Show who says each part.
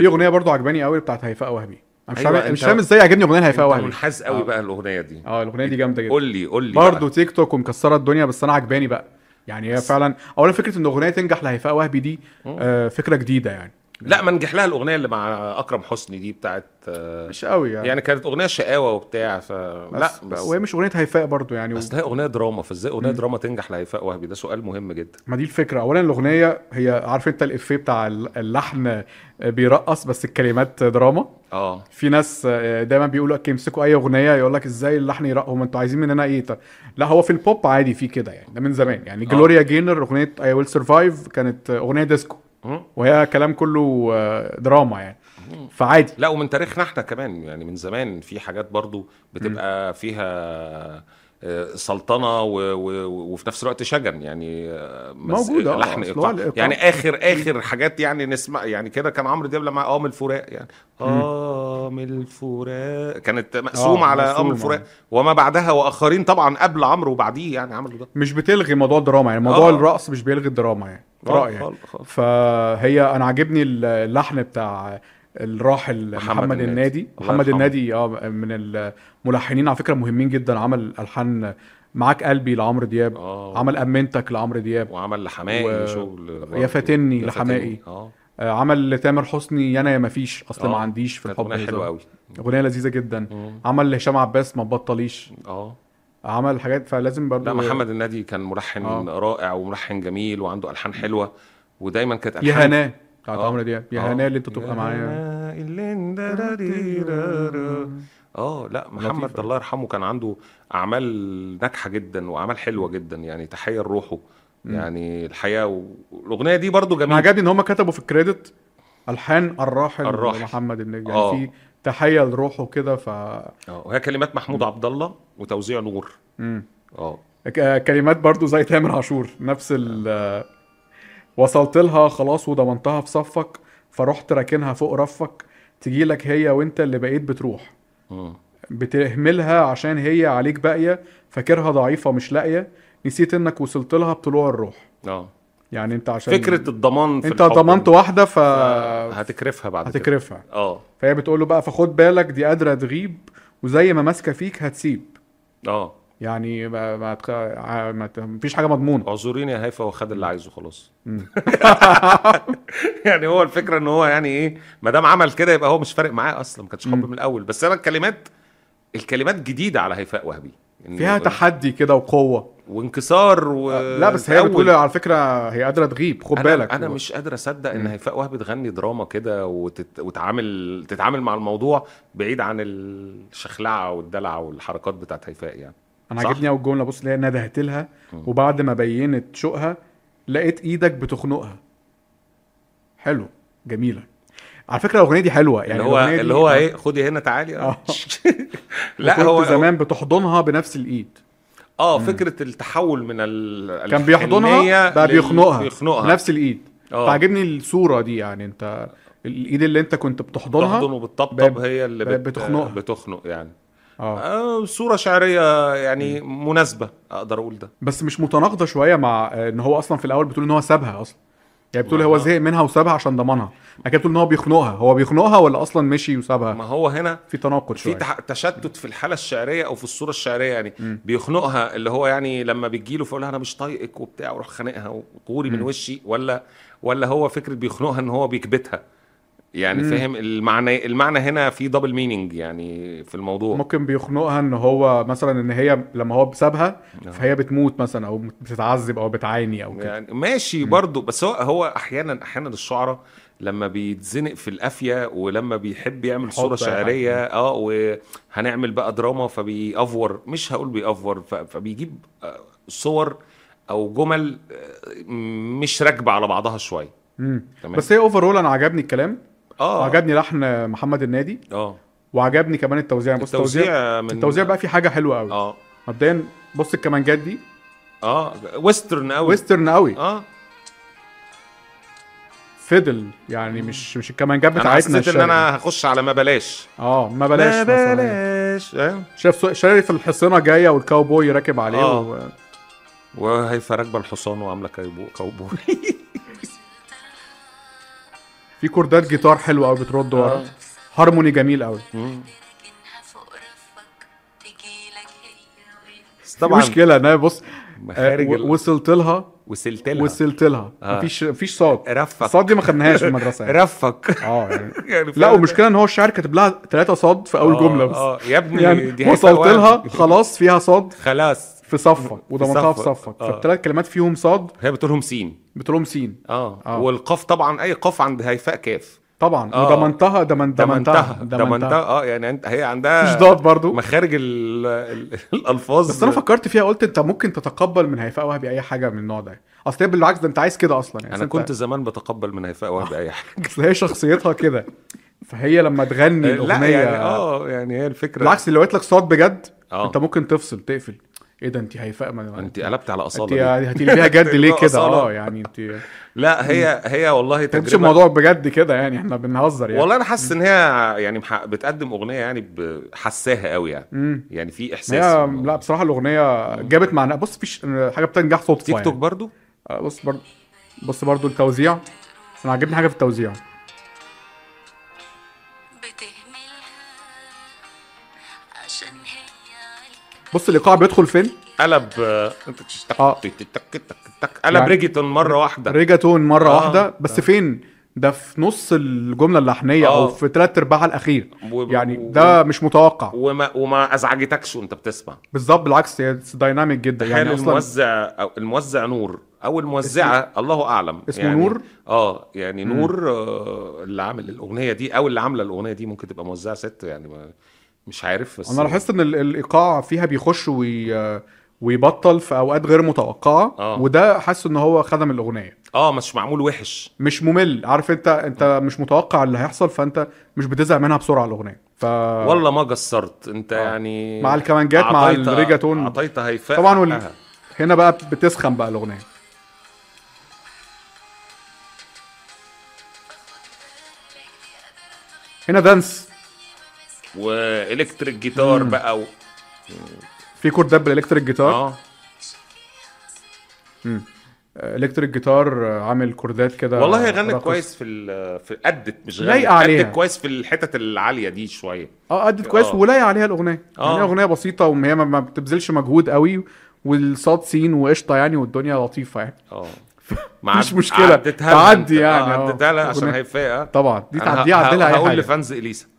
Speaker 1: في اغنيه برضو عجباني قوي بتاعت هيفاء وهبي انا مش
Speaker 2: أيوة،
Speaker 1: فاهم مش
Speaker 2: أنت-
Speaker 1: فاهم ازاي عجبني اغنيه هيفاء
Speaker 2: انت
Speaker 1: وهبي
Speaker 2: منحاز قوي
Speaker 1: آه.
Speaker 2: بقى الاغنيه دي
Speaker 1: اه الاغنيه دي جامده جدا
Speaker 2: قول لي قول لي
Speaker 1: برضه
Speaker 2: بقى.
Speaker 1: تيك توك ومكسره الدنيا بس انا عجباني بقى يعني هي فعلا اولا فكره ان اغنيه تنجح لهيفاء وهبي دي آه فكره جديده يعني
Speaker 2: لا ما نجح لها الاغنيه اللي مع اكرم حسني دي بتاعت آه،
Speaker 1: مش قوي يعني,
Speaker 2: يعني كانت اغنيه شقاوه وبتاع ف لا
Speaker 1: بس لا
Speaker 2: بس
Speaker 1: وهي مش اغنيه هيفاء برضو يعني
Speaker 2: اصل هي اغنيه دراما فازاي اغنيه دراما تنجح لهيفاء وهبي ده سؤال مهم جدا
Speaker 1: ما دي الفكره اولا الاغنيه هي عارف انت الافيه بتاع اللحن بيرقص بس الكلمات دراما
Speaker 2: اه
Speaker 1: في ناس آه، دايما بيقولوا لك يمسكوا اي اغنيه يقول لك ازاي اللحن يرق هم انتوا عايزين مننا ايه طب لا هو في البوب عادي في كده يعني ده من زمان يعني
Speaker 2: آه.
Speaker 1: جلوريا جينر اغنيه اي ويل سرفايف كانت آه، اغنيه ديسكو
Speaker 2: مم.
Speaker 1: وهي كلام كله آه، دراما يعني فعادي
Speaker 2: لا ومن تاريخنا احنا كمان يعني من زمان في حاجات برضو بتبقى فيها آه، سلطنه و... و... وفي نفس الوقت شجن يعني آه، مز-
Speaker 1: موجود، آه،
Speaker 2: لحن
Speaker 1: أصل
Speaker 2: إيقاع.
Speaker 1: هو الإيقاع.
Speaker 2: يعني اخر اخر حاجات يعني نسمع يعني كده كان عمرو دياب لما اه من الفراق يعني اه من الفراق كانت مقسومه
Speaker 1: آه،
Speaker 2: على اه من
Speaker 1: مقسومة.
Speaker 2: الفراق وما بعدها واخرين طبعا قبل عمرو وبعديه يعني عملوا ده
Speaker 1: مش بتلغي موضوع الدراما يعني موضوع
Speaker 2: آه.
Speaker 1: الرقص مش بيلغي الدراما يعني
Speaker 2: آه،
Speaker 1: رايي يعني.
Speaker 2: خالص- خالص.
Speaker 1: فهي انا عاجبني اللحن بتاع الراحل
Speaker 2: محمد
Speaker 1: محمد,
Speaker 2: النادي.
Speaker 1: النادي,
Speaker 2: الله
Speaker 1: محمد
Speaker 2: يرحمه.
Speaker 1: النادي اه من الملحنين على فكره مهمين جدا عمل الحان معاك قلبي لعمرو دياب
Speaker 2: آه.
Speaker 1: عمل امنتك لعمرو دياب
Speaker 2: وعمل لحمائي
Speaker 1: و-
Speaker 2: شغل برضو.
Speaker 1: يا فاتني
Speaker 2: يا
Speaker 1: لحمائي.
Speaker 2: اه
Speaker 1: آه، عمل لتامر حسني يانا يا مفيش اصل ما
Speaker 2: آه.
Speaker 1: عنديش في
Speaker 2: كانت
Speaker 1: الحب
Speaker 2: اغنيه حلوه
Speaker 1: هزار.
Speaker 2: قوي
Speaker 1: اغنيه لذيذه جدا
Speaker 2: مم.
Speaker 1: عمل لهشام عباس ما بطليش
Speaker 2: اه
Speaker 1: عمل حاجات فلازم برضو
Speaker 2: لا محمد النادي كان ملحن
Speaker 1: آه.
Speaker 2: آه. رائع وملحن جميل وعنده الحان حلوه ودايما كانت
Speaker 1: يا
Speaker 2: الحان
Speaker 1: هناه بتاعت
Speaker 2: آه.
Speaker 1: عمرو دياب يا
Speaker 2: آه.
Speaker 1: هناه اللي انت تبقى معايا
Speaker 2: اللي اندراريرارا. اه لا محمد
Speaker 1: لطيفة.
Speaker 2: الله يرحمه كان عنده اعمال ناجحه جدا واعمال حلوه جدا يعني تحيه لروحه يعني الحياه والاغنيه دي برضو
Speaker 1: انا
Speaker 2: جميله
Speaker 1: عجبني ان هم كتبوا في الكريدت الحان الراحل,
Speaker 2: الراحل.
Speaker 1: محمد النجم
Speaker 2: آه.
Speaker 1: يعني في تحيه لروحه كده ف
Speaker 2: اه وهي كلمات محمود عبد الله وتوزيع نور
Speaker 1: مم.
Speaker 2: اه
Speaker 1: ك- كلمات برضو زي تامر عاشور نفس ال وصلت لها خلاص وضمنتها في صفك فرحت راكنها فوق رفك تجيلك هي وانت اللي بقيت بتروح
Speaker 2: مم.
Speaker 1: بتهملها عشان هي عليك باقيه فاكرها ضعيفه مش لاقيه نسيت انك وصلت لها بطلوع الروح
Speaker 2: اه
Speaker 1: يعني انت عشان
Speaker 2: فكره الضمان في
Speaker 1: انت
Speaker 2: الحب
Speaker 1: ضمنت واحده ف
Speaker 2: هتكرفها بعد كده.
Speaker 1: هتكرفها
Speaker 2: اه
Speaker 1: فهي بتقول له بقى فخد بالك دي قادره تغيب وزي ما ماسكه فيك هتسيب
Speaker 2: اه
Speaker 1: يعني ما ما تخ... ع- ما ت- مفيش حاجه مضمونه
Speaker 2: اعذريني يا هيفا هو خد اللي عايزه خلاص يعني هو الفكره ان هو يعني ايه ما دام عمل كده يبقى هو مش فارق معاه اصلا ما كانش حب من الاول بس انا الكلمات الكلمات جديده على هيفاء وهبي إن-
Speaker 1: فيها تحدي كده وقوه
Speaker 2: وانكسار و...
Speaker 1: لا بس هي
Speaker 2: تأول.
Speaker 1: بتقول على فكره هي قادره تغيب خد
Speaker 2: أه، أنا-
Speaker 1: بالك
Speaker 2: انا
Speaker 1: و-
Speaker 2: مش قادر اصدق ان هيفاء وهبي تغني دراما كده وتت... وتعامل تتعامل مع الموضوع بعيد عن الشخلعه والدلع والحركات بتاعت هيفاء يعني
Speaker 1: انا
Speaker 2: صح.
Speaker 1: عاجبني قوي الجمله بص اللي هي ندهت لها وبعد ما بينت شوقها لقيت ايدك بتخنقها حلو جميله على فكره الاغنيه دي حلوه يعني
Speaker 2: يعني اللي هو
Speaker 1: الأغنية دي-
Speaker 2: اللي هو ايه خدي هنا تعالي آه.
Speaker 1: آه.
Speaker 2: لا
Speaker 1: كنت
Speaker 2: هو
Speaker 1: زمان بتحضنها بنفس الايد
Speaker 2: اه فكره التحول من ال
Speaker 1: كان بيحضنها بقى بيخنقها
Speaker 2: بيخنقها
Speaker 1: بنفس الايد
Speaker 2: آه.
Speaker 1: فعجبني الصوره دي يعني انت الايد اللي انت كنت
Speaker 2: تحضن
Speaker 1: بتحضنها
Speaker 2: وبتطبطب
Speaker 1: ب-
Speaker 2: هي اللي
Speaker 1: ب-
Speaker 2: بت...
Speaker 1: بتخنقها.
Speaker 2: بتخنق يعني
Speaker 1: اه
Speaker 2: آه صوره شعريه يعني مناسبه اقدر اقول ده
Speaker 1: بس مش متناقضه شويه مع آه، ان هو اصلا في الاول بتقول ان هو سابها اصلا يعني بتقول
Speaker 2: ما
Speaker 1: هو
Speaker 2: هو-
Speaker 1: زهق منها وسابها عشان ضمنها بعد كده بتقول ان هو بيخنقها هو بيخنقها ولا اصلا مشي وسابها
Speaker 2: ما هو هنا
Speaker 1: في تناقض
Speaker 2: في
Speaker 1: شويه
Speaker 2: تح- تشتت في الحاله الشعريه او في الصوره الشعريه يعني بيخنقها اللي هو يعني لما بتجيله فيقول لها انا مش طايقك وبتاع وروح خانقها وطوري من وشي ولا ولا هو فكره بيخنقها ان هو بيكبتها يعني فاهم المعنى المعنى هنا في دبل مينينج يعني في الموضوع
Speaker 1: ممكن بيخنقها ان هو مثلا ان هي لما هو سابها
Speaker 2: نعم.
Speaker 1: فهي بتموت مثلا او بتتعذب او بتعاني او كده
Speaker 2: يعني ماشي برضه بس هو هو احيانا احيانا الشعراء لما بيتزنق في القافيه ولما بيحب يعمل
Speaker 1: يحط
Speaker 2: صوره
Speaker 1: أي حاجة.
Speaker 2: شعريه اه وهنعمل بقى دراما فبيأفور مش هقول بيأفور ف- فبيجيب آه، صور او جمل آه، مش راكبه على بعضها شويه
Speaker 1: مم.
Speaker 2: تمام
Speaker 1: بس هي اوفرول انا عجبني الكلام
Speaker 2: اه
Speaker 1: وعجبني لحن محمد النادي
Speaker 2: اه
Speaker 1: وعجبني كمان التوزيع بص التوزيع
Speaker 2: التوزيع من
Speaker 1: التوزيع بقى في حاجه حلوه قوي
Speaker 2: اه
Speaker 1: مبدئيا بص الكمانجات دي
Speaker 2: اه ويسترن قوي
Speaker 1: ويسترن قوي
Speaker 2: اه
Speaker 1: فيدل يعني مش مش الكمانجات
Speaker 2: انا
Speaker 1: بتاعتنا
Speaker 2: حسيت ان
Speaker 1: الشرقي.
Speaker 2: انا هخش على ما بلاش
Speaker 1: اه ما بلاش
Speaker 2: ما
Speaker 1: مثلاً.
Speaker 2: بلاش آه.
Speaker 1: شايف سو- شايف الحصينه جايه والكاوبوي راكب عليه
Speaker 2: آه.
Speaker 1: و...
Speaker 2: وهيفا راكبه الحصان وعامله كايبو- كاوبوي
Speaker 1: في كوردات جيتار حلوه قوي بترد
Speaker 2: آه.
Speaker 1: ورا هارموني جميل قوي
Speaker 3: جنها فوق رفك تجيلك هي وين
Speaker 2: بس
Speaker 1: طبعا
Speaker 2: طبعا
Speaker 1: مشكله ان أنا بص آه،
Speaker 2: مخارج
Speaker 1: و-
Speaker 2: ال-
Speaker 1: وصلت لها
Speaker 2: وصلت لها
Speaker 1: وصلت لها
Speaker 2: آه.
Speaker 1: مفيش مفيش صاد
Speaker 2: رفك
Speaker 1: الصاد دي ما خدناهاش في المدرسه يعني.
Speaker 2: رفك
Speaker 1: اه يعني
Speaker 2: يعني
Speaker 1: لا
Speaker 2: فعلا-
Speaker 1: والمشكله ان هو الشاعر كاتب لها ثلاثه صاد في اول
Speaker 2: آه،
Speaker 1: جمله بس
Speaker 2: اه يا ابني دي
Speaker 1: يعني
Speaker 2: هيفا
Speaker 1: وصلت
Speaker 2: وهبي.
Speaker 1: لها خلاص فيها صاد
Speaker 2: خلاص
Speaker 1: في صفك وضمنتها في
Speaker 2: صفك.
Speaker 1: صفك
Speaker 2: آه.
Speaker 1: فالثلاث كلمات فيهم صاد
Speaker 2: هي بتقول لهم سين
Speaker 1: بتقولهم سين
Speaker 2: اه,
Speaker 1: آه.
Speaker 2: والقاف طبعا اي قاف عند هيفاء كاف
Speaker 1: طبعا
Speaker 2: آه.
Speaker 1: وضمنتها دمن دمنتها
Speaker 2: دمنتها اه يعني انت هي عندها
Speaker 1: مفيش ضاد برضو
Speaker 2: مخارج ال- ال- الالفاظ
Speaker 1: بس انا فكرت فيها قلت انت ممكن تتقبل من هيفاء وهبي اي حاجه من النوع ده اصل هي بالعكس ده انت عايز كده اصلا يعني
Speaker 2: انا
Speaker 1: أنت- آه.
Speaker 2: كنت زمان بتقبل من هيفاء وهبي اي حاجه
Speaker 1: اصل هي شخصيتها كده فهي لما تغني
Speaker 2: لا
Speaker 1: الاغنيه
Speaker 2: يعني اه يعني هي الفكره
Speaker 1: بالعكس لو قلت لك صوت بجد
Speaker 2: آه.
Speaker 1: انت ممكن تفصل تقفل ايه ده انت هيفاء ما
Speaker 2: انت قلبت على
Speaker 1: انت
Speaker 2: اصاله ليه؟
Speaker 1: هتقلبيها جد ليه كده
Speaker 2: أصالة.
Speaker 1: اه يعني انت
Speaker 2: لا هي هي والله
Speaker 1: تمشي
Speaker 2: تجربه
Speaker 1: الموضوع بجد كده يعني احنا بنهزر يعني
Speaker 2: والله انا حاسس ان هي يعني محقق- بتقدم اغنيه يعني ب- حساها قوي يعني
Speaker 1: امم
Speaker 2: يعني في احساس
Speaker 1: هي
Speaker 2: والله.
Speaker 1: لا بصراحه الاغنيه جابت معنى بص فيش حاجه بتنجح صدفه
Speaker 2: تيك توك
Speaker 1: يعني.
Speaker 2: برضو
Speaker 1: آه، بص برضو بص برضو التوزيع انا عاجبني حاجه في التوزيع
Speaker 3: بتهملها عشان هي عليك
Speaker 1: بص الايقاع بيدخل فين
Speaker 2: قلب
Speaker 1: آه.
Speaker 2: اه قلب
Speaker 1: يعني-
Speaker 2: ريجيتون مره واحده
Speaker 1: ريجاتون مره
Speaker 2: آه،
Speaker 1: واحده بس فين ده في نص الجمله اللحنيه او
Speaker 2: آه.
Speaker 1: في ثلاث ارباعها الاخير
Speaker 2: و-
Speaker 1: يعني
Speaker 2: و-
Speaker 1: ده مش متوقع
Speaker 2: وما وما ازعجتكش وانت بتسمع
Speaker 1: بالظبط بالعكس هي دايناميك جدا
Speaker 2: يعني
Speaker 1: يعني اصلا
Speaker 2: الموزع أو الموزع نور او الموزعه الله اعلم
Speaker 1: اسمه
Speaker 2: يعني
Speaker 1: نور؟
Speaker 2: اه يعني نور آه، اللي عامل الاغنيه دي او اللي عامله الاغنيه دي ممكن تبقى موزعه ست يعني ما مش عارف بس
Speaker 1: انا لاحظت ان ال- الايقاع فيها بيخش وي... ويبطل في اوقات غير متوقعه
Speaker 2: آه.
Speaker 1: وده حاسه ان هو خدم الاغنيه
Speaker 2: اه مش معمول وحش
Speaker 1: مش ممل عارف انت انت مش متوقع اللي هيحصل فانت مش بتزهق منها بسرعه الاغنيه ف
Speaker 2: والله ما قصرت انت
Speaker 1: آه.
Speaker 2: يعني
Speaker 1: مع الكمانجات، مع
Speaker 2: أعطيت-
Speaker 1: الريجاتون.
Speaker 2: اعطيت هيفاء آه.
Speaker 1: طبعا وال-
Speaker 2: حقها.
Speaker 1: هنا بقى بتسخن بقى الاغنيه هنا دانس
Speaker 2: والكتريك جيتار بقى و...
Speaker 1: في كوردات بالالكتريك جيتار
Speaker 2: اه
Speaker 1: الكتريك جيتار آه، عامل كوردات كده
Speaker 2: والله هي غنت
Speaker 1: رقص.
Speaker 2: كويس في ال في ادت مش غنت
Speaker 1: آه. لايقة عليها.
Speaker 2: ادت كويس في الحتت العاليه دي شويه
Speaker 1: اه ادت كويس
Speaker 2: آه.
Speaker 1: ولايقه عليها الاغنيه
Speaker 2: آه.
Speaker 1: يعني هي اغنيه بسيطه وهي ما- ما بتبذلش مجهود قوي والصاد سين وقشطه يعني والدنيا لطيفه يعني
Speaker 2: اه مع-
Speaker 1: مفيش مشكلة.
Speaker 2: عدتها لها
Speaker 1: تعدي
Speaker 2: انت. آه،
Speaker 1: يعني، آه.
Speaker 2: عدتها لها عشان
Speaker 1: أغنية.
Speaker 2: هيفاء
Speaker 1: طبعا دي
Speaker 2: أنا ه-
Speaker 1: تعديها عدلها
Speaker 2: ه-
Speaker 1: اي
Speaker 2: هقول
Speaker 1: حاجه
Speaker 2: لفانز اليسا